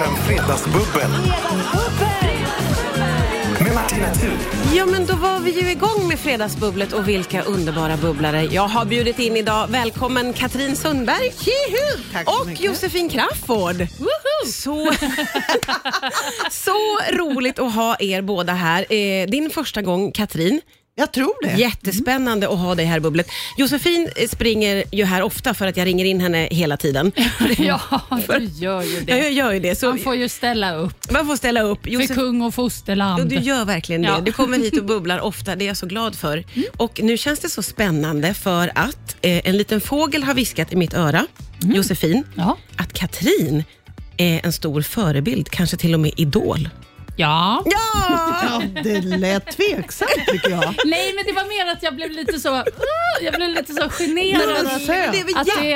Fredagsbubbel med Martina Thun. Ja, men då var vi ju igång med Fredagsbubblet och vilka underbara bubblare jag har bjudit in idag. Välkommen Katrin Sundberg Tack så och mycket. Josefin Crafoord. Så, så roligt att ha er båda här. Eh, Din första gång Katrin. Jag tror det. Jättespännande att ha dig här i bubblet. Josefin eh, springer ju här ofta för att jag ringer in henne hela tiden. Ja, du gör ju Ja, jag det. gör ju det. Så Man får ju ställa upp man får ställa upp. för Josef- kung och Ja, fosterland. du gör verkligen det. Ja. Du kommer hit och bubblar ofta, det är jag så glad för. Och nu känns det så spännande för att eh, en liten fågel har viskat i mitt öra, Josefin, Ja. att Katrin är en stor förebild, kanske till och med idol. ja. Ja! Ja, det lät tveksamt tycker jag. Nej, men det var mer att jag blev lite så, "Åh", jag blev lite så Nej, generad. men att- söt. alltså, Det är väl Att det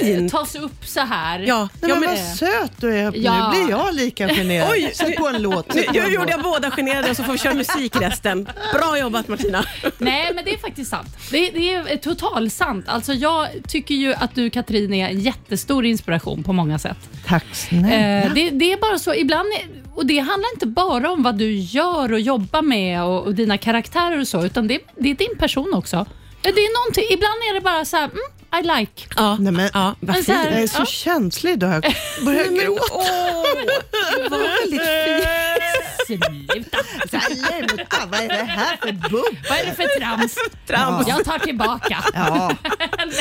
jättefint? tas upp så här. Ja, Nej, ja, men men, vad söt du är. Ja. Nu blir jag lika generad. Oj, Sätt på en låt. nu, sätt på nu en gjorde låt. jag båda generade och så får vi köra musik resten. Bra jobbat Martina! Nej, men det är faktiskt sant. Det, det är totalt sant. Alltså, jag tycker ju att du Katrin är en jättestor inspiration på många sätt. Tack snälla. Eh, det, det är bara så ibland, och det handlar inte bara om vad du gör och jobbar med och, och dina karaktärer och så, utan det, det är din person också. Eh, Det är någonting, ibland är det bara så här, mm, I like. Ja, Nej, men- ja vad Men så fint. här- jag är så Ja. känslig idag. Jag börjar gråta. Åh, det var väldigt fint. Sluta! Sluta, Vad är det här för bubb? Vad är det för trams? Trams. Jag tar tillbaka. Ja,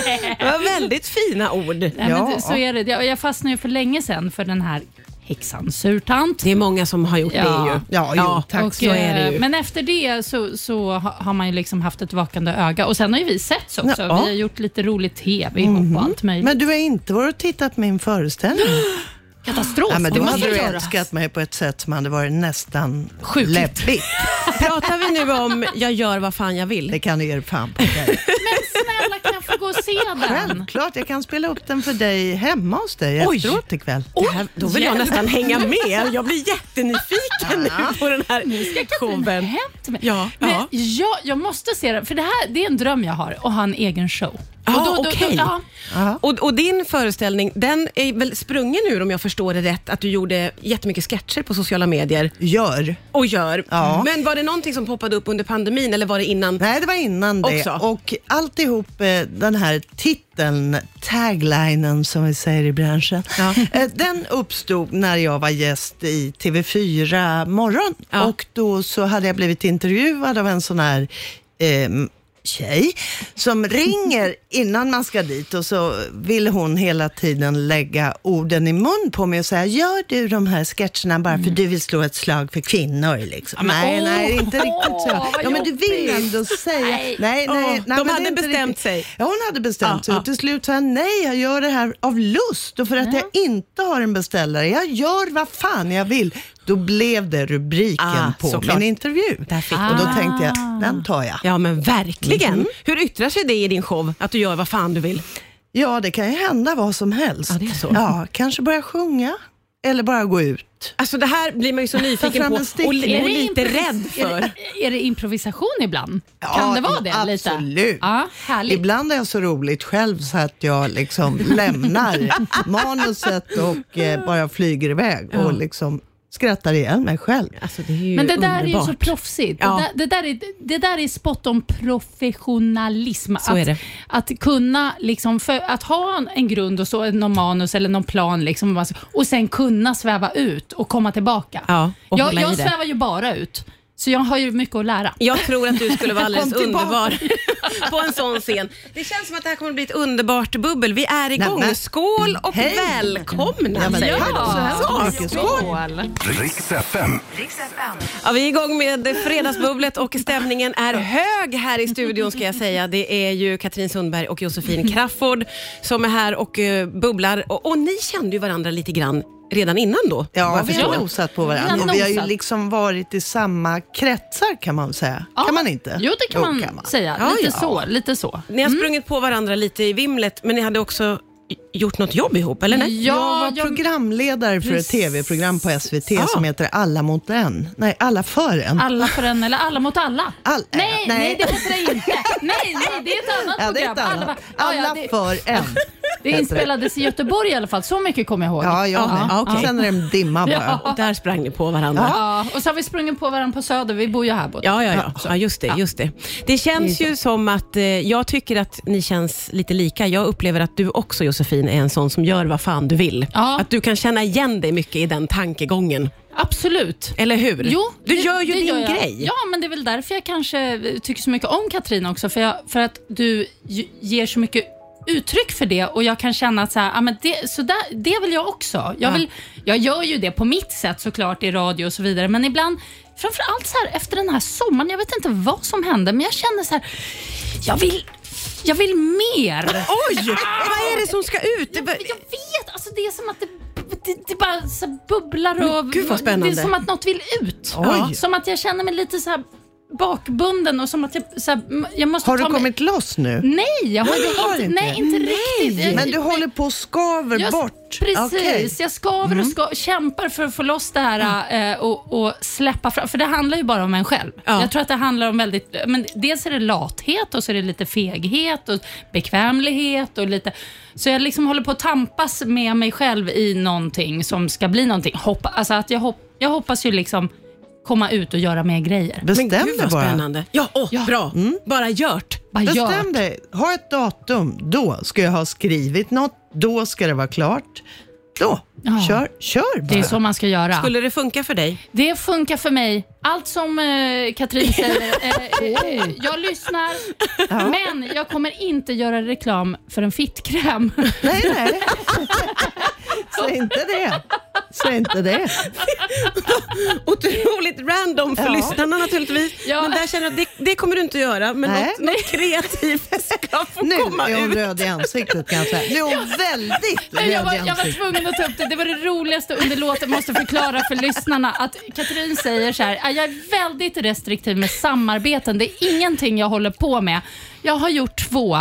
Nej. Det var väldigt fina ord. Nej, men Ja. det- så är det. Jag, jag fastnade ju för länge sedan för den här häxan surtant. Det är många som har gjort det Ja. ju. ja, jo, tack. Och, så är det ju. eh, Men efter det så, så ha- har man ju liksom haft ett vakande öga. Och sen har ju vi setts också. Ja. Vi har gjort lite rolig TV ihop och allt möjligt. Men du har inte varit och tittat på min föreställning? Katastrof! Nej, men det då måste hade du jag göra. älskat mig på ett sätt som hade varit nästan Sjukligt. läbbigt. Pratar vi nu om jag gör vad fan jag vill? Det kan du ge dig fan på. Dig. Men snälla kan jag få gå och se den? Självklart, jag kan spela upp den för dig hemma hos dig Oj. efteråt ikväll. Det här, då vill jag Hjälp. nästan hänga med. Jag blir jättenyfiken nu på den här Men showen. hem till mig. Ja, men ja. Jag, jag måste se den, för det här det är en dröm jag har, att ha en egen show. Ja, Och då- då- då- okej. ja. Och, och din föreställning, den är väl sprungen ur om jag förstår det rätt, att du gjorde jättemycket sketcher på sociala medier Gör. och gör. Ja. Men var det någonting som poppade upp under pandemin eller var det innan? Nej, det var innan det. Också. Och alltihop eh, den här titeln, taglinen som vi säger i branschen, Ja. eh, den uppstod när jag var gäst i TV4 Morgon. Ja. Och då så hade jag blivit intervjuad av en sån här ehm, tjej som ringer innan man ska dit och så vill hon hela tiden lägga orden i mun på mig och säga, gör du de här sketcherna bara för du vill slå ett slag för kvinnor? Liksom. Mm. men nej, åh. nej, inte riktigt så. Åh, vad ja, men du vill jobbigt. ändå säga... Nej, nej, Nej. Åh, nej, de men det är hade inte bestämt riktigt. sig. Ah, Ja, hon hade bestämt Ja, sig. ja. Och till slut sa jag nej, jag gör det här av lust och för att jag inte har en beställare. Jag gör vad fan jag vill. Då blev det rubriken Ah, på såklart. min intervju. Där fick Ah. och då du. tänkte jag, den tar jag. Ja men verkligen. Hur yttrar sig det i din show, att du gör vad fan du vill? Ja, det kan ju hända vad som helst. Ja, det är så. Ja, kanske börja sjunga eller bara gå ut. Alltså det här blir man ju så nyfiken fram på en och, stick. och Är det lite improvis- rädd Är för. det, är det improvisation ibland? Ja, kan det vara det? Lite? absolut. Ja, härligt. Ibland är jag så roligt själv så att jag liksom lämnar manuset och eh, bara flyger iväg och liksom skrattar ihjäl mig själv. Alltså, det är ju Men det där är ju så underbart. proffsigt. Ja. Det, där, det, där är, det där är spot on professionalism. Så att, är det. att kunna liksom för, att ha en, en grund och så någon manus eller någon plan liksom, alltså, och sen kunna sväva ut och komma tillbaka. Ja, och jag hålla i jag det. svävar ju bara ut, så jag har ju mycket att lära. Jag tror att du skulle vara alldeles Kom tillbaka. underbar på en sån scen. Det känns som att det här kommer bli ett underbart bubbel. Vi är igång. Nej, men- Skål och Hej. välkomna Ja, men säger det vi är då. så Ja. hemskt mycket. Skål! Riks FM. Ja, vi är igång med Fredagsbubblet och stämningen är hög här i studion ska jag säga. Det är ju Katrin Sundberg och Josefin Crafoord som är här och eh, bubblar. Och, och ni kände ju varandra lite grann redan innan då. vad Ja, jag vi förstår. har nosat på Vi varandra har och vi har ju nosat. liksom varit i samma kretsar kan man säga. Ja. Kan man inte? Jo, det kan, man, säga. Ja, lite ja. så. Lite så. Ni har sprungit på varandra lite i vimlet, men ni hade också i- gjort något jobb ihop, eller? Nej? Ja, jag var jag- programledare för ett Precis. tv-program på SVT Ah. som heter Alla mot en. Nej, Alla för en. Alla för en eller alla mot alla? All- nej, nej. nej, det heter det inte. Nej, nej, det är ett annat Ja, det är program. ett annat. ja, Alla ja, det- för en. Det heter inspelades i Göteborg i alla fall, så mycket kommer jag ihåg. Ja, jag med. Ja, okej. Sen är det en dimma bara. Ja. Där sprang ni på varandra. Ja, och så har vi sprungit på varandra på Söder, vi bor ju här borta. Ja, ja, ja. ja just, det, just det. Det känns ju som att eh, jag tycker att ni känns lite lika. Jag upplever att du också Josefin är en sån som gör vad fan du vill. Ja. Att du kan känna igen dig mycket i den tankegången. Absolut. Eller hur? Jo, du det- gör ju det din jag. grej. Ja, men det är väl därför jag kanske tycker så mycket om Katrin också. För, jag, för att du ju- ger så mycket uttryck för det och jag kan känna att så här, ah, men det, så där, det vill jag också. Jag, vill, jag gör ju det på mitt sätt såklart i radio och så vidare, men ibland Framförallt så här efter den här sommaren, jag vet inte vad som hände, men jag känner så här, jag vill, jag vill mer. Oj! Vad är det som ska ut? Det var- Jag vet, alltså det är som att det, det, det bara så här bubblar och... gud, vad spännande. Det är som att något vill ut. Oj. Som att jag känner mig lite så här bakbunden och som att jag, så här, m- jag måste Har du ta mig... kommit loss nu? Nej, jag har har inte. inte, inte, nej, inte riktigt. Jag- Men du håller på och skaver jag, bort. Precis, Okej. Mm. jag skaver och ska, kämpar för att få loss det här eh, och, och släppa fram, för det handlar ju bara om en själv. Ja. Jag tror att det handlar om väldigt, men dels är det lathet och så är det lite feghet och bekvämlighet och lite, så jag liksom håller på att tampas med mig själv i någonting som ska bli någonting. Hoppa, alltså att jag, hopp, jag hoppas ju liksom komma ut och göra mer grejer. Bestäm Men gud dig vad bara. Mm. spännande. Ja, åh, bra. Bara gjort. Bara gör. Bestäm dig. Ha ett datum. Då ska jag ha skrivit något. Då ska det vara klart. Då. Ja. Kör, kör bara. Det är så man ska göra. Skulle det funka för dig? Det funkar för mig. Allt som eh, Katrin säger, eh, eh, jag lyssnar. Men jag kommer inte göra reklam för en fittkräm. Nej, nej. Säg inte det. Säg inte det. Otroligt random för Ja. lyssnarna naturligtvis. Ja. Men där känner jag att det, det kommer du inte göra. Men Nej. något, något kreativt ska få Nu komma är ut. hon röd i ansiktet kan jag säga. Nu är hon väldigt Nej, jag, röd var, i jag var ansiktet. tvungen att ta upp det. Det var det roligaste under låten. Måste förklara för lyssnarna att Katrin säger så här. "Ah, Jag är väldigt restriktiv med samarbeten. Det är ingenting jag håller på med. Jag har gjort två.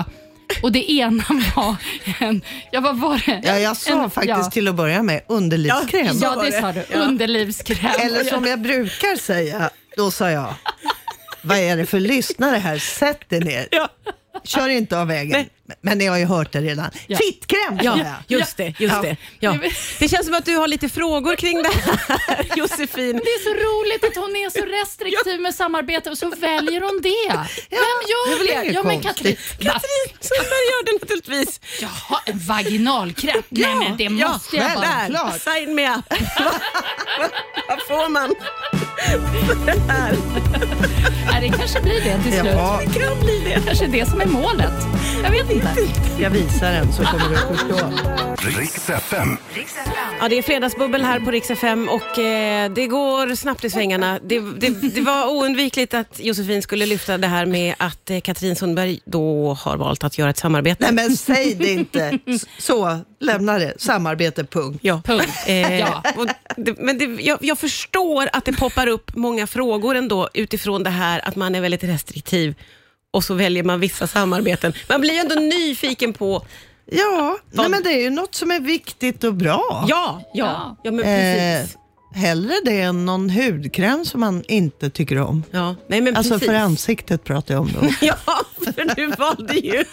Och det ena var en... Ja, vad var det? Ja, jag sa En- faktiskt ja. till att börja med underlivskräm. Ja, det det. sa du. Underlivskräm. Eller som jag brukar säga, då sa jag, vad är det för lyssnare här? Sätt er ner. Ja. Kör inte av vägen. Men ni har ju hört det redan. Ja. Fittkräm sa Ja, jag. just det. Just Ja. det. Ja. det känns som att du har lite frågor kring det här, Josefin. Det är så roligt att hon är så restriktiv med samarbete och så väljer hon det. Vem det gör är det? Ja, men Katrin. konstigt. Katrin Sundberg gör det naturligtvis. Jaha, en vaginalkräm? Nej, men det måste jag väl bara. där. Klart. Sign me up. Vad får man? Nej, det kanske blir det till slut. Ja, Det kan bli det. kanske är det som är målet. Jag vet inte. jag visar den så kommer du att förstå. Riks FM. Ja, det är fredagsbubbel här på Rix FM och eh, det går snabbt i svängarna. Det, det, det var oundvikligt att Josefin skulle lyfta det här med att eh, Katrin Sundberg då har valt att göra ett samarbete. Nej men säg det inte. S- Så, lämna det. Samarbete, punkt. Ja. Punkt. Eh, Ja. och det, men det, jag, jag förstår att det poppar upp många frågor ändå utifrån det här att man är väldigt restriktiv och så väljer man vissa samarbeten. Man blir ju ändå nyfiken på, Ja, nej, men det är ju något som är viktigt och bra. ja, ja, ja men Eh, precis. hellre det än någon hudkräm som man inte tycker om. Ja, nej men Alltså precis. för ansiktet pratar jag om då. Ja, för du valde ju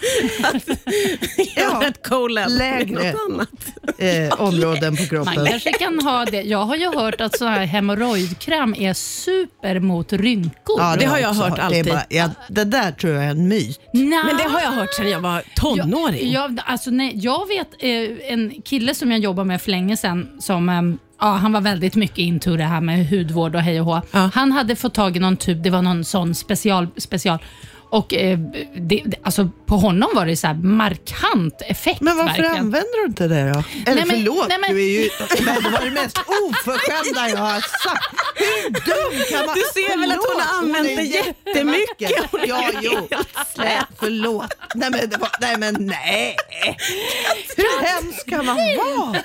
att göra ett collab med lägre. något annat. Eh, områden på Man kroppen. kanske kan ha det. Jag har ju hört att sån här hemorrojdkräm är super mot rynkor. Ja, det har jag också hört Det, är alltid. bara, ja, det där tror jag är en myt. Nej. Men det har jag hört sedan jag var tonåring. Jag, jag, alltså, nej, jag vet eh, en kille som jag jobbade med för länge sedan som ehm, Ja, han var väldigt mycket into det här med hudvård och hej och hå. Ja. Han hade fått tag i någon tub, det var någon sån special. special. Och eh, det, det- alltså, på honom var det så här markant effekt. Men varför verkligen. använder du inte det då? Eller Nej, men- förlåt, nej, men- du är ju men det var det mest oförskämda jag har sagt. Hur dum kan man... Du ser väl att hon har Förlåt, använt är det jättemycket. jättevacker. Ja, jo. Slä, förlåt. Nej men, det var, nej, men nej. Hur hemsk kan man vara?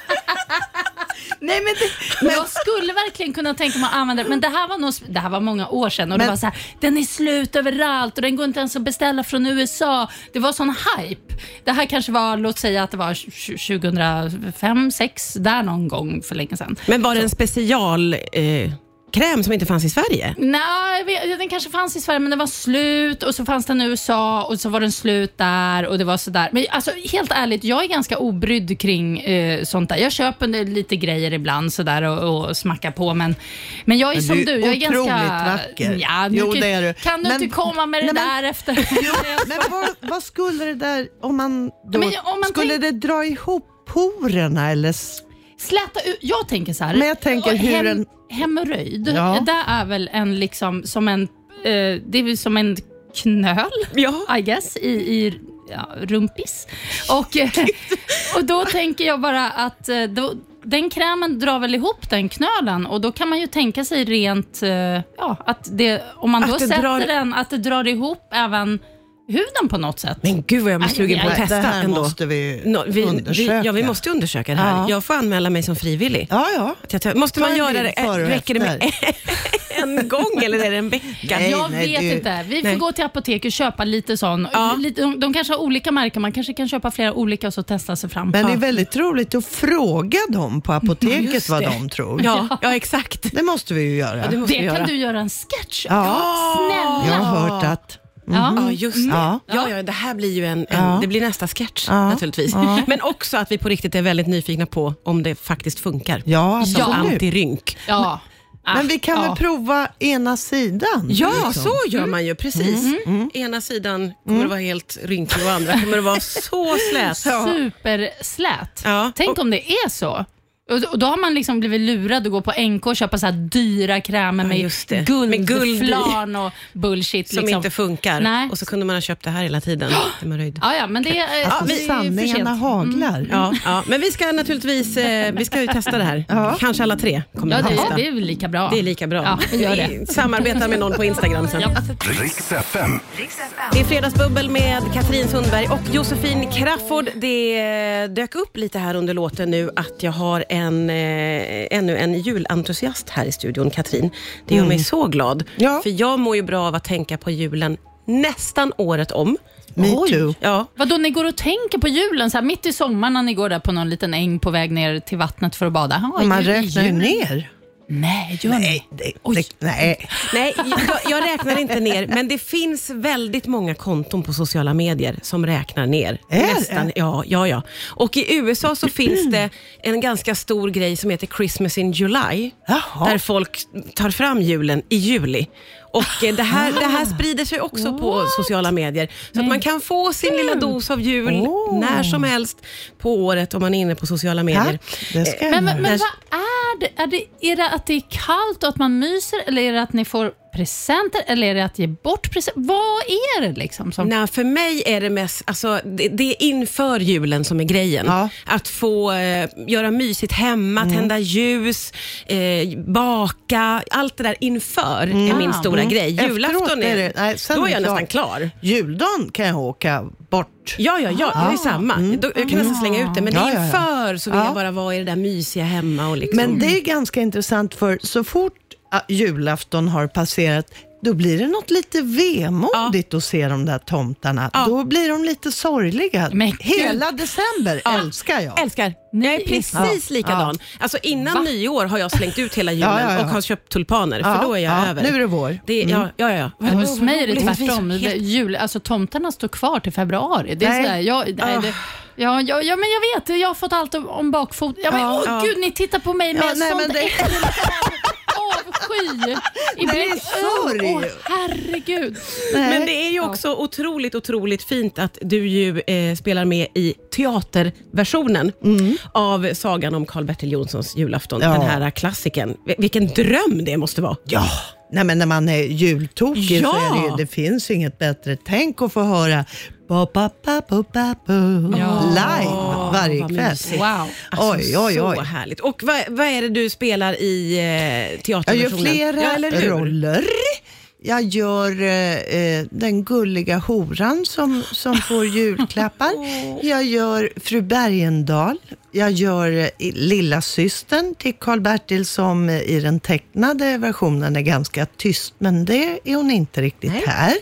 Nej, men det, jag skulle verkligen kunna tänka mig att använda det, men det här var, nog, det här var många år sedan och Men- det var så här, den är slut överallt och den går inte ens att beställa från USA. Det var sån hype. Det här kanske var, låt säga att det var 2005, 2006, där någon gång för länge sedan. Men var det en special... Eh, kräm som inte fanns i Sverige. Nej, jag vet- den kanske fanns i Sverige, men den var slut och så fanns den i USA och så var den slut där och det var sådär. Men alltså, helt ärligt, jag är ganska obrydd kring eh, sånt där. Jag köper en- lite grejer ibland sådär och, och smackar på, men, men jag är Men som du du. är jag är ganska... otroligt vacker. Ja, nu Jo, kan- det är du. Kan du Men- inte komma med det Nej, men- där efter? Men vad, vad skulle det där, om man då, Men om man skulle tänk- det dra ihop porerna eller? s- Släta ut, jag tänker så här. Men jag tänker hur hem, en- Hemorrojd, Ja. det är väl en liksom, som en, eh, det är väl som en knöl? Ja. I guess, i, i ja, rumpis. Och, eh, och då tänker jag bara att eh, då, den krämen drar väl ihop den knölen och då kan man ju tänka sig rent, eh, ja, att det, om man Att då det sätter drar- den, att det drar ihop även huden på något sätt. Men gud vad jag måste Aj, sugen på att aj, aj. Det testa här ändå. måste vi Nå, vi, vi, undersöka. ja, vi måste undersöka det här. Ja. Jag får anmäla mig som frivillig. Ja, ja. Att jag tar- Måste Ta man en göra bild det? före och Räcker det med en gång eller är det en vecka? Nej, jag nej, vet det- inte. Vi nej. får gå till apoteket och köpa lite sån. Ja. Lite, de, de kanske har olika märken, man kanske kan köpa flera olika och så testa sig fram. Men det är Ja. väldigt roligt att fråga dem på apoteket Just vad det. de tror. Ja, ja exakt. Det måste vi ju göra. Det Ja. måste det vi kan göra. du göra en sketch Jag Snälla! har hört att... Ja, Mm. Ja. just det. Ja. Ja. Ja, det här blir ju en, en Ja. det blir nästa sketch Ja. naturligtvis. Men också att vi på riktigt är väldigt nyfikna på om det faktiskt funkar. Ja, Som Ja. absolut. antirynk. Ja. Men vi kan Ja. väl prova ena sidan? Ja, liksom. så gör man ju. Precis. Mm. Mm. Ena sidan kommer det vara helt rynkig och andra kommer det vara så slät. superslät. Ja. Tänk om det är så. Och- Och då har man liksom blivit lurad att gå på NK och köpa så här dyra krämer Ja, med, just det. guld, Med guld i. flan och bullshit. Som liksom. inte funkar. Nej. Och så kunde man ha köpt det här hela tiden. hemorrojd. Ja, ja, men det är eh, Alltså, det är ju för sanningarna sent. haglar. Mm. Ja, ja. Men vi ska naturligtvis eh, vi ska ju testa det här. Ja. Kanske alla tre kommer Ja, att testa. det, det är väl lika bra. Det är lika bra. Ja, vi gör det. Samarbetar med någon på Instagram sen. Riks FM. Det är Fredagsbubbel med Katrin Sundberg och Josefin Crafoord. Det dök upp lite här under låten nu att jag har en, eh, ännu en julentusiast här i studion, Katrin. Det Mm. gör mig så glad. Ja. För jag mår ju bra av att tänka på julen nästan året om. Me too. Ja, Vadå, ni går och tänker på julen så här, mitt i sommaren när ni går där på någon liten äng på väg ner till vattnet för att bada? Ja, Man jul- räknar ju jul. ner. Nej, gör ni? Nej, det, det, nej. Nej, jag, jag räknar inte ner, men det finns väldigt många konton på sociala medier som räknar ner. Är det? ja, ja, ja. Och i USA så finns det en ganska stor grej som heter Christmas in July, Jaha. där folk tar fram julen i juli. Och eh, det här, det här sprider sig också på sociala medier. Så att man kan få sin lilla dos av jul Åh. när som helst på året om man är inne på sociala medier. Eh, Tack, det ska jag Men, göra. men, men vad är det? är det? Är det att det är kallt och att man myser eller är det att ni får presenter eller är det att ge bort presenter? Vad är det liksom? Som, Nej, för mig är det mest, alltså, det, det är inför julen som är grejen. Ja. Mm. Att få eh, göra mysigt hemma, tända ljus, eh, baka. Allt det där inför är min Ah, stora grej. Mm. Efteråt Julafton är, det- nej, sen då är jag det nästan klar. Juldagen kan jag åka bort. Ja, ja, ja, det är samma. Då, jag kan nästan slänga ut det, men det Ah. Mm. Ja, ja, är ja. inför så vill Ja. jag bara vara i det där mysiga hemma. Och liksom. Men det är ganska intressant för så fort ah, julafton har passerat då blir det något lite vemodigt att se de där tomtarna. Då blir de lite sorgliga. Men gud. Hela december älskar jag. Älskar. Jag är Ni- precis likadan. Alltså innan nyår har jag slängt ut hela julen Ja, ja, ja. och har köpt tulpaner, Ja, för då är jag ja. över. Nu är det vår. Mm. Det, ja, ja, ja. hos mig är det Roligt. tvärtom. Det- Jul, alltså, tomtarna står kvar till februari. Det är Nej. Ah. Sådär, jag, nej, det, ja, ja, ja, men jag vet. Jag har fått allt om, om bakfot. Ja, men, Ja. åh, Ja. Gud, ni tittar på mig med Ja, nej, sånt men det- äckligt avsky. Nej, I blick. sorry. Åh, åh, herregud. Men det är ju också otroligt, otroligt fint att du ju eh, spelar med i teaterversionen av sagan om Karl-Bertil Jonssons julafton. Mm. Ja. Den här klassikern. Vi- Vilken dröm det måste vara. Ja, nej men när man är jultokig så är det Ja. ju, det finns ju inget bättre. Tänk att få höra ba, ba, ba, ba, ba, ba, Ja. live Åh, varje vad kväll. mysigt. Alltså, Wow. Oj, oj, Så oj. härligt. Och vad, vad är det du spelar i eh, Jag gör teaterversionen? flera ja, eller hur? roller. Jag gör eh, eh, den gulliga horan som, som får julklappar. Jag gör fru Bergendahl. Jag gör eh, i- lilla systern till Karl-Bertil som eh, i den tecknade versionen är ganska tyst, men det är hon inte riktigt här.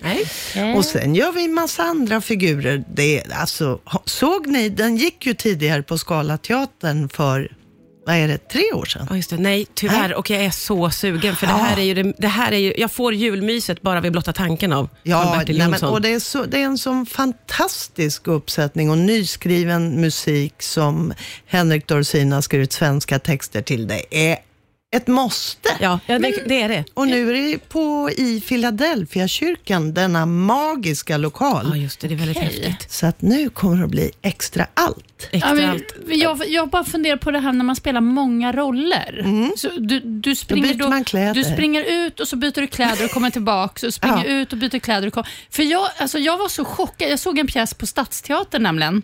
Nej. Och sen gör vi en massa andra figurer. Det, är- alltså, ha- såg ni, den gick ju tidigare på Scalateatern för vad är det, tre år sedan? Ja, just det. Nej, tyvärr. Och jag är så sugen. För det här är ju, det, det här är ju, jag får julmyset bara vid blotta tanken av av Ja, Bertil nej, men, Jonsson. och det är, så, det är en sån fantastisk uppsättning och nyskriven musik som Henrik Dorsin har skrivit svenska texter till. Det är ett måste. Ja, ja det, det är det. Och nu är det på i Philadelphia kyrkan denna magiska lokal. Ja, just det. Det är väldigt häftigt. Så att nu kommer det att bli extra allt. Extra Ja, men, allt. jag, jag bara funderar på det här när man spelar många roller. Så du, du, springer Mm. byter man kläder. du springer ut och så byter du kläder och kommer tillbaka. Och springer Ja. ut och byter kläder. Och kom. För jag, alltså, jag var så chockad. Jag såg en pjäs på Stadsteatern nämligen,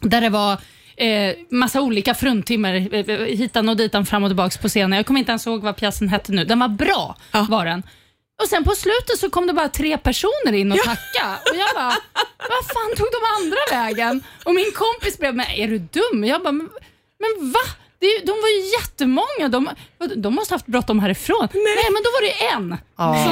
där det var Eh, massa olika fruntimmer eh, eh, hitan och ditan fram och tillbaka på scenen. Jag kommer inte ens ihåg vad pjäsen hette nu. Den var bra, Ja. var den. Och sen på slutet så kom det bara tre personer in och tackade. Och jag bara, vad fan tog de andra vägen? Och min kompis blev, men är du dum? Jag bara, men, men va? Det är, ju- de var ju jättemånga. De, vadå, de måste haft bråttom härifrån. Nej. men då var det en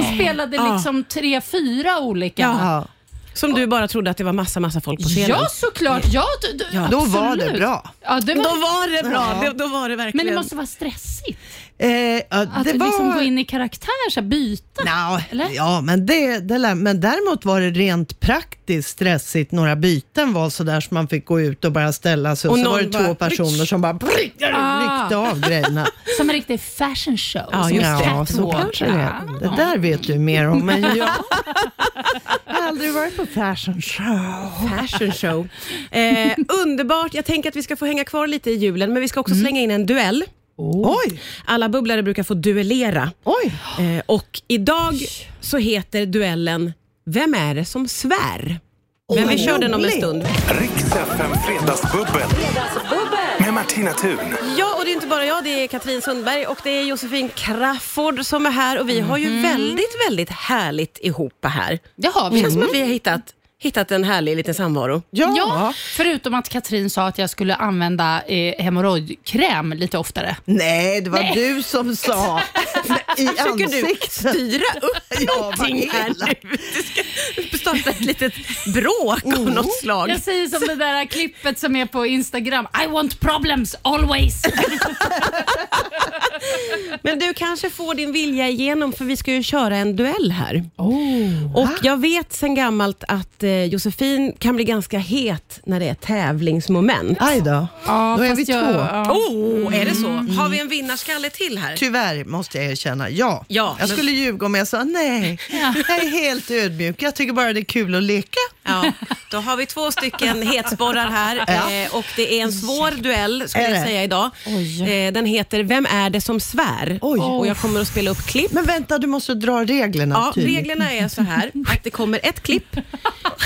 som spelade Ja. liksom tre, fyra olika. Ja. Ja, Som du bara trodde att det var massa, massa folk på scenen. Ja, såklart. Ja, d- d- Ja. då var det absolut. bra. Ja, det var, Då var det bra. Ja. Då, då var det verkligen. men det måste vara stressigt. Eh, ja, Att det var... liksom gå in i karaktär, så här, byta. Nå, eller? Ja, men, det, det lär, men däremot var det rent praktiskt stressigt. Några byten var sådär som man fick gå ut och bara ställa sig. Och, Och så var det någon bara- två personer som bara prickade Ah. ryckte av grejerna. Som en riktig fashion show. Ja, som just en det. Ja, catwalk. så kanske det är. Det där vet du mer om än jag. Jag har aldrig varit på fashion show. Fashion show. Eh, underbart. Jag tänker att vi ska få hänga kvar lite i julen, men vi ska också slänga in en duell. Oj, Alla bubblare brukar få duellera. oj. Eh, och idag så heter duellen Vem är det som svär? Men vi Oj. kör den om en stund. Riks FM Fredagsbubbel. Med Martina Thun. Ja, och det är inte bara jag. Det är Katrin Sundberg och det är Josefin Crafoord som är här. Och vi har Mhm. ju väldigt, väldigt härligt ihop här. Det har Det vi. känns som att Mhm. vi har hittat, hittat en härlig liten samvaro. Mm. Ja. Ja, förutom att Katrin sa att jag skulle använda eh, hemorrojdkräm lite oftare. Nej, det var du som sa i Tycker du ansiktet. styra upp Ja, vad någonting här elakt. nu? Du ska starta ett litet bråk av Mm. något slag. Jag säger som det där klippet som är på Instagram. I want problems always. Men du kanske får din vilja igenom för vi ska ju köra en duell här. Oh. och Ah. jag vet sen gammalt att eh, Josefin kan bli ganska het när det är tävlingsmoment. Aj då. då är vi fast två. jag- ja. Oh, är det så? Mm. Har vi en vinnarskalle till här? Tyvärr måste jag erkänna, ja. Ja, jag men- skulle ljuga om jag sa nej. Jag är helt ödmjuk. Jag tycker bara det är kul att leka. Ja, då har vi två stycken hetsporrar här Ja. Mm. eh, och det är en svår duell skulle Är jag det? säga idag. Eh, den heter Vem är det som svär? Oj. Och jag kommer att spela upp klipp. Men vänta, du måste dra reglerna Ja, tydligt. reglerna är så här att det kommer ett klipp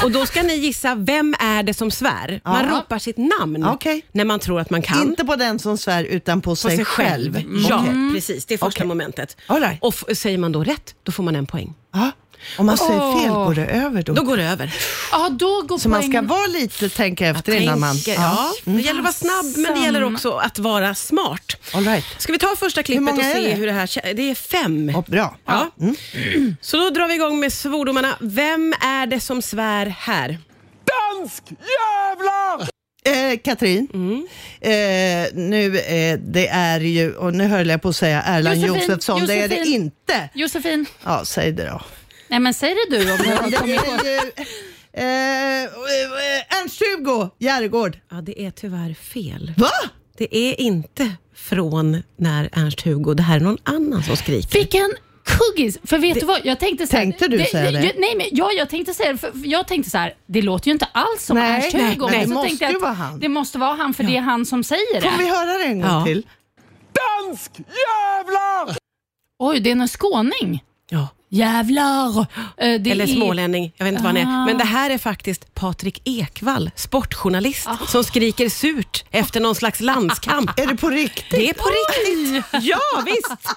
och då ska ni gissa vem är det som svär. Man Ja. ropar sitt namn Okej. när man tror att man kan. Inte på den som svär, utan på, sig, själv. Mm. Ja, Okej. precis. Det är första momentet. All right. Och f- säger man då rätt, då får man en poäng. Ja. Om man säger fel Åh. går det över då. Då går det över. Ja, då går Så man ska poängen- vara lite, tänka efter innan man... Mm. Tänker, ja. Det gäller att vara snabb, men det gäller också att vara smart. All right. Ska vi ta första klippet och många är se det? hur det här kä- Det är fem. Ja, Mm. bra. Ja. Så då drar vi igång med svordomarna. Vem är det som svär här? Dansk jävlar! Eh, Katrin, eh, nu eh, det är ju, och nu höll jag på att säga Erland Josefin, Josefsson, det är det Josefin. inte. Josefin, Ja, säg det då. nej men säg det du om du har Det kommit på. är ju, eh, eh, Ernst-Hugo Järegård. Ja, det är tyvärr fel. Va? Det är inte från när Ernst-Hugo, det här är någon annan som skriker. Vilken kuggis! För vet du vad, jag tänkte så här, Tänkte du säga det? Jag, nej, men ja, jag tänkte säga det, för för jag tänkte så här, det låter ju inte alls som Nej, Ernst nej, Hugo. nej, men det så måste tänkte jag ju att vara han. Det måste vara han, för det är han som säger Får vi det. höra det en gång Ja. till? Dansk jävlar! Oj, det är en skåning. Ja. Jävlar! Eh, det Eller är- smålänning, jag vet inte vad han är. Ah. Men det här är faktiskt Patrik Ekwall, sportjournalist, Ah. som skriker surt efter någon slags landskamp. Är det på riktigt? Det är på riktigt. Ja, visst.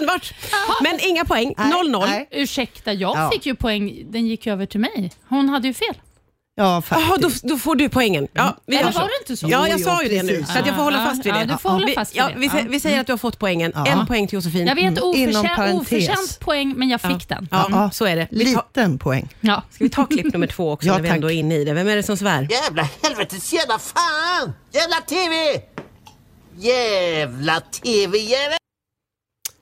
Underbart. Ah. Men inga poäng. 0-0. Nej. Ursäkta, jag Ja. fick ju poäng. Den gick ju över till mig. Hon hade ju fel. Ja, Jaha, faktiskt. Ah, då, då får du poängen. Ja, vi Eller gör var det inte så? Ja, Jo, jag jo, sa ju det nu, precis. så att jag får hålla Ja, fast vid det. ja, du får hålla vi, fast vid ja, det. vi, sä- Ja. vi säger att du har fått poängen. Ja. En poäng till Josefin. Jag vet, Mm. Inom oförskä- parentes. oförtjänt poäng, men jag fick den. Ja, Ja. Mm, så är det. Vi tar, Liten poäng. Ja. ska vi ta klipp nummer två också, Ja, när vi ändå är tack. inne i det. Vem är det som svär? Jävla helvetes jävla fan! Jävla TV! jävla tv-jävel!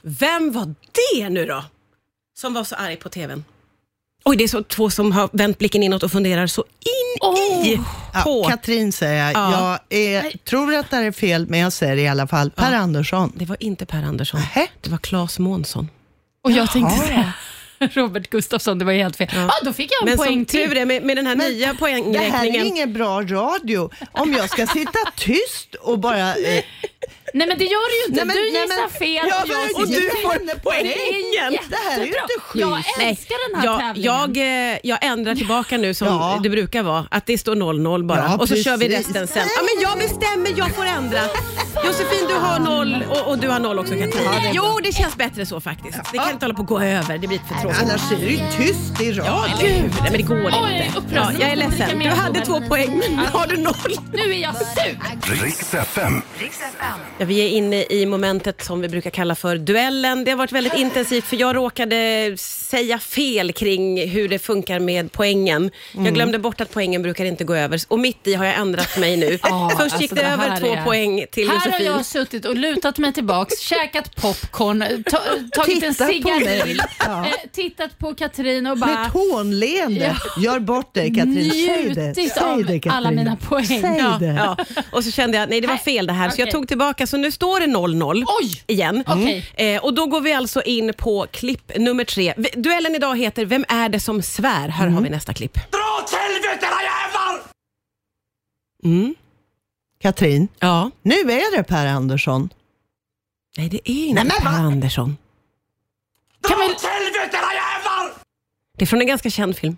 Vem var det nu då? Som var så arg på tvn? Oj, det är så två som har vänt blicken inåt och funderar så in i på. Ja, Katrin säger jag. Ja. Jag är, tror att det här är fel, men jag säger det i alla fall. Per Andersson. det var inte Per Andersson. Nähä. Det var Claes Månsson. Och jag tänkte så här, Robert Gustafsson, det var helt fel. Ja, då fick jag en Men poäng som till. tur är med, med den här nya Det här är poängräkningen. ingen bra radio. Om jag ska sitta tyst och bara... Eh, Nej, men det gör du ju Nej, inte. men- du nej, gissar men- fel. Ja, och jag men- Och du Jag får känner på poängen! det det här är ju inte schysst. Jag älskar den här Jag, tävlingen. jag, eh, jag ändrar tillbaka nu som Ja. det brukar vara, att det står 0-0 bara. Ja, och så kör vi precis. resten sen. Ja, men jag bestämmer, jag får ändra. Josefin, du har 0 och, och du har 0 också Katrin. Jo, det känns bättre så faktiskt. Det kan inte hålla på att gå över, det blir för tråkigt. Annars är det ju tyst i radio. Gud, nej, men det går inte. Oj, jag är upprörd. Ja, jag är Nu måste ledsen. jag dricka Du mer hade blod. två poäng, men nu har du noll. Nu är jag sur. Riks FM. Ja, vi är inne i momentet som vi brukar kalla för duellen. Det har varit väldigt intensivt för jag råkade säga fel kring hur det funkar med poängen. Mm. Jag glömde bort att poängen brukar inte gå över och mitt i har jag ändrat mig nu. Ah, Ja, Först alltså, gick det, det här över två är- poäng till Här Josefin. har jag suttit och lutat mig tillbaks, käkat popcorn, ta, tagit en Titta på cigarill, mig. Ja. eh, tittat på Katrin och Med bara hånleende. Gör bort dig Katrin. Säg det. Njutit Säg av det Katrin. alla mina poäng. Säg Ja, det. ja. Och så kände jag, nej det var fel det här, så jag Okej. tog tillbaka. Så nu står det 0-0 Oj! igen. Okej. Eh, och då går vi alltså in på klipp nummer tre. V- Duellen idag heter Vem är det som svär? Här Mm. har vi nästa klipp. Dra åt helvete era jävlar! Mm. Katrin, Ja. nu är det Per Andersson. Nej, det är inte Per Andersson. Dra åt helvete era jävlar! Det är från en ganska känd film.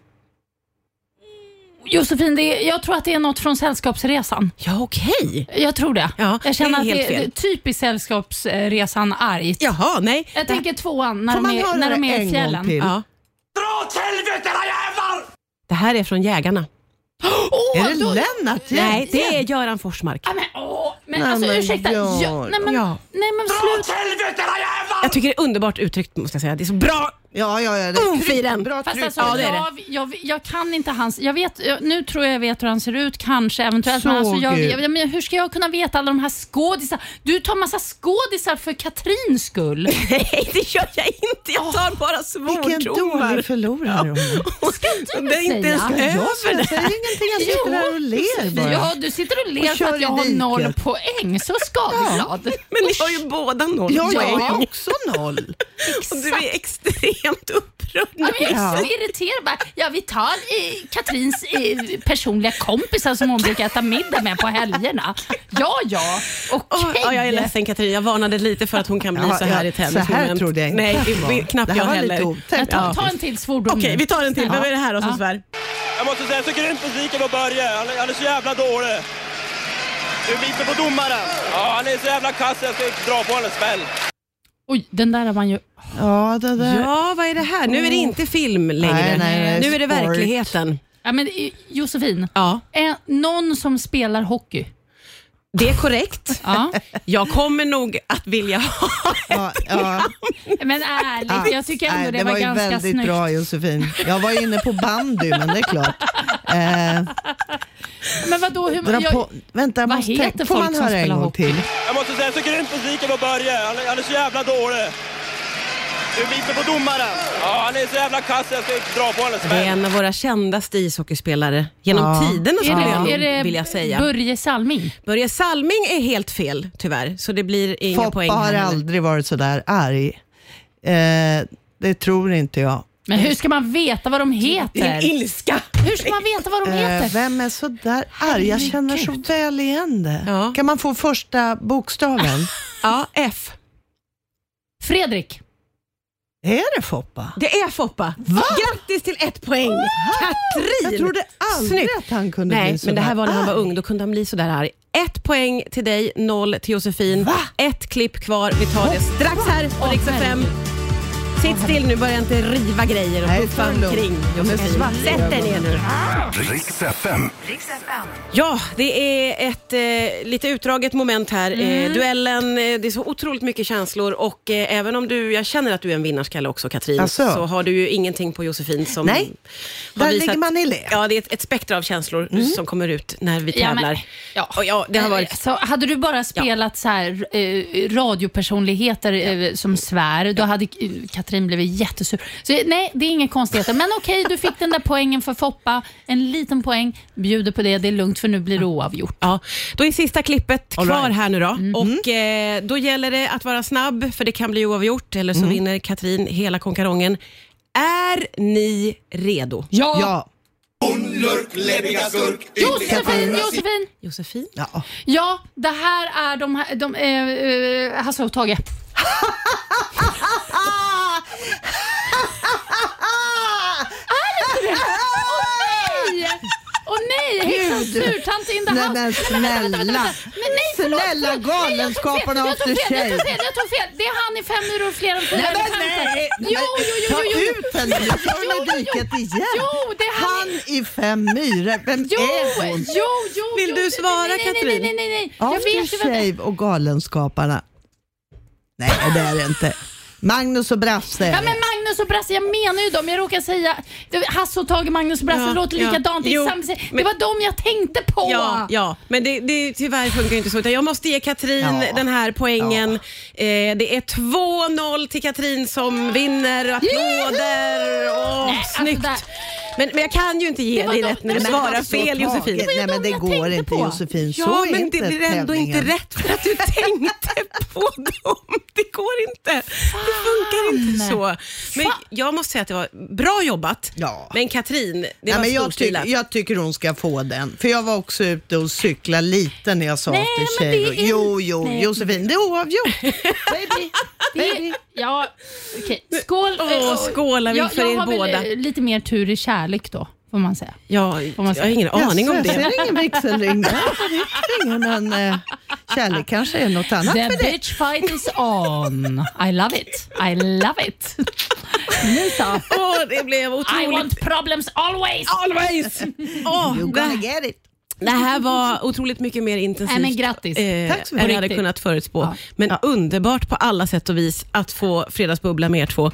Josefin, det är, jag tror att det är något från Sällskapsresan. Ja, okej. Jag tror det. Ja, jag känner det är att helt det, fel. det är typiskt Sällskapsresan argt. Jaha, nej. Jag tänker tvåan, när Får de man är, när höra de är det i en gång fjällen. till? Ja. Dra åt helvete era jävlar! Det här är från Jägarna. Åh, Är det då- Lennart? Nej, det är Göran Forsmark. Ja, men, åh, men Nej, alltså men ursäkta. gör- Ja, nej, men, Ja. nej men Dra åt sluta. helvete era jävlar! Jag tycker det är underbart uttryckt måste jag säga. Det är så bra. Ja, ja, ja. Det Oh, firen. Bra Fast tryck. alltså, Ja, det är det. jag, jag, jag kan inte hans... Jag vet, jag, nu tror jag jag vet hur han ser ut, kanske, eventuellt. Men alltså, Såg jag, ju. jag, men hur ska jag kunna veta alla de här skådisarna? Du tar massa skådisar för Katrins skull. Nej, det gör jag inte. Jag tar bara Vilken svordomar. dålig förlorare hon är. Ska du Det är inte ens säga? Jag över det säger här. ingenting, jag sitter Jo, här och ler bara. Ja, du sitter och ler Och för kör att jag i har diket. noll poäng. Så skadeglad. Men ni har ju båda noll Ja, jag poäng. har också noll. Och du är extremt upprörd nu. Ja, men jag är så irriterad. Bara, Ja, vi tar eh, Katrins eh, personliga kompisar som hon brukar äta middag med på helgerna. Ja, ja. Okej. Åh, ja, jag är ledsen Katrin, jag varnade lite för att hon kan bli Ja, så här ja, i tävlingsmoment. så här trodde jag inte Nej, att det var. knappt Det här jag var lite heller. otäckt. Ta, ta en till svordom Okej, nu. vi tar en till. Vem Ja. är det här då som Ja. svär? Jag måste säga, jag tycker inte musiken på Börje. Han, är- han är så jävla dålig. Du biter på domaren. Ja, han är så jävla kass. Jag ska dra på honom en smäll. Oj, den där har man ju... Ja, det där. Ja, vad är det här? Nu är Mm. det inte film längre. Nej, nej, nej, nu är det sport. verkligheten. Ja, men eh, Josefin, Ja, eh, någon som spelar hockey. det är korrekt. Ja. Jag kommer nog att vilja ha Ja, ja. Men ärligt, Ja. jag tycker ändå Nej, det, det var, ju ganska väldigt snyggt. bra Josefin. Jag var inne på bandy, men det är klart. Eh, Men vadå, hur... dra jag- på, vänta, jag Vad måste heter tänka. Får folk man som höra en spelar gång hockey? till? Jag måste säga, jag tycker inte musiken på Börje. Han, är- han är så jävla dålig. Du biter på domaren. Ja, han är så jävla kass. Jag ska dra på honom en Det är smäll. en av våra kändaste ishockeyspelare genom Ja. tiderna skulle Är jag det, är nog det vilja säga. Börje Salming? Börje Salming är helt fel tyvärr, så det blir inga Foppa poäng här har heller. aldrig varit sådär arg. Eh, det tror inte jag. Men hur ska man veta vad de Din heter? ilska! Hur ska man veta vad de Eh, heter? vem är sådär arg? Jag känner så väl igen det. Ja. Kan man få första bokstaven? Ja, F. Fredrik. är det Foppa? Det är Foppa. Grattis till ett poäng! Katrin! Jag trodde aldrig Snyggt. att han kunde bli Nej, sådär men det här var när han var arg. ung. Då kunde han bli sådär arg. Ett poäng till dig, noll till Josefin. Ett klipp kvar. Vi tar det strax här på Åh, Rix FM. herregud. Sitt still nu, börja inte riva grejer och Nej, puffa fan då. omkring. De är Josefin. svarta i Sätt dig ner ögonen. nu. Riks FM. Riks FM. Ja, det är ett eh, lite utdraget moment här. Mm. Eh, duellen, eh, det är så otroligt mycket känslor och eh, även om du, jag känner att du är en vinnarskalle också Katrin, Asså? så har du ju ingenting på Josefin som Alltså. Nej. har Där ligger man i Mm. lä. Ja, det är ett, ett spektra av känslor som kommer ut när vi Ja, tävlar. men- ja. Och ja, det har varit Så hade du bara spelat så här, eh, radiopersonligheter eh, som svär, då hade eh, Katrin blivit jättesur. Så, eh, nej, det är inga konstigheter. Men okej, du fick den där poängen för Foppa. En liten poäng, bjuder på det. Det är lugnt för nu blir det oavgjort. Ja, då är sista klippet All kvar right. Mm. här nu då. Och eh, då gäller det att vara snabb, för det kan bli oavgjort, eller så Mm. vinner Katrin hela konkarongen. Är ni redo? Ja. Josefin, Josefin! Josefin? ja. Ja, det här är de här... De, eh, eh, Hasse och Tage. Nej! Åh nej! Häxan Gud. Surtant in the Nej, house. men snälla. Men nej, förlåt, Snälla, förlåt. Nej, jag tog fel. Galenskaparna Jag tog After fel, Jag Shave. tog fel, jag tog fel. Det är han i Fem myror fler än fyra Nej, men elefanter. nej! Jo, jo, jo, Ta jo, jo. ut henne, nu kör Jo, hon jo, i diket jo. igen. Jo, det är han han i fem myror, vem Jo, är jo, hon? jo, jo. Vill du svara, nej, nej, Katrin? Nej, nej, nej, nej. Jag vet After ju vem det är. Shave och Galenskaparna. Nej, det är det inte. Magnus och Brasse. Ja men Magnus och Brasse, jag menar ju dem. Jag råkar säga det var Hasse och Tage, Magnus och Brasse, Ja, det låter ja. likadant. Det, är Jo, samma, det men- var dem jag tänkte på. Ja, ja, men det, det, tyvärr funkar ju inte så. Utan jag måste ge Katrin Ja. den här poängen. Eh, det är 2-0 till Katrin som vinner. Applåder! Åh, Nej, alltså snyggt! där- men, men jag kan ju inte ge Det var dig de- rätt när nej, du men alltså, svarar Magnus fel och Tage. Josefin. Nej men det jag går tänkte inte på. Josefin, så Ja, är men inte det blir ändå tävlingen. inte rätt för att du tänkte på dem. Det går inte. Det funkar inte så. Men jag måste säga att det var bra jobbat. Ja. Men Katrin, det Nej, var men jag, storstilat. tycker, jag tycker hon ska få den. För jag var också ute och cykla lite när jag sa Nej, After men det Shave. är- Jo, jo, Nej. Josefin, det är oavgjort. Baby, det, ja, okej. Skål. Åh, eh, skålar vi jag, för jag er har väl, båda. eh, lite mer tur i kärlek då, får man säga. Ja, man jag har säga. ingen aning om Jaså, Jag det. ser ingen vigselring där. Det är ingen, Men eh, kärlek kanske är något annat The för dig. bitch fight is on. I love it. I love it. Nu så. Åh, det blev I otroligt. want problems always. Always! Åh, You're gonna det, get it. det här var otroligt mycket mer intensivt Nej, men grattis. eh, Tack så än mycket. jag hade Riktigt. kunnat förutspå. Ja. Men underbart på alla sätt och vis att få fredagsbubbla med er två.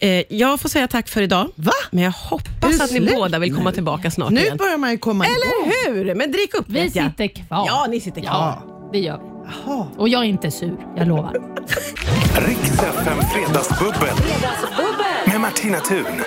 Eh, jag får säga tack för idag, Va? men jag Är hoppas det att ni slut båda vill komma tillbaka snart Nu igen. börjar man ju komma igång. Eller hur? Men drick upp Vi vet jag. sitter kvar. Ja, ni sitter kvar. Ja, det gör vi. Jaha. Och jag är inte sur, jag lovar. Riks FM Fredagsbubbel. Med Martina Thun.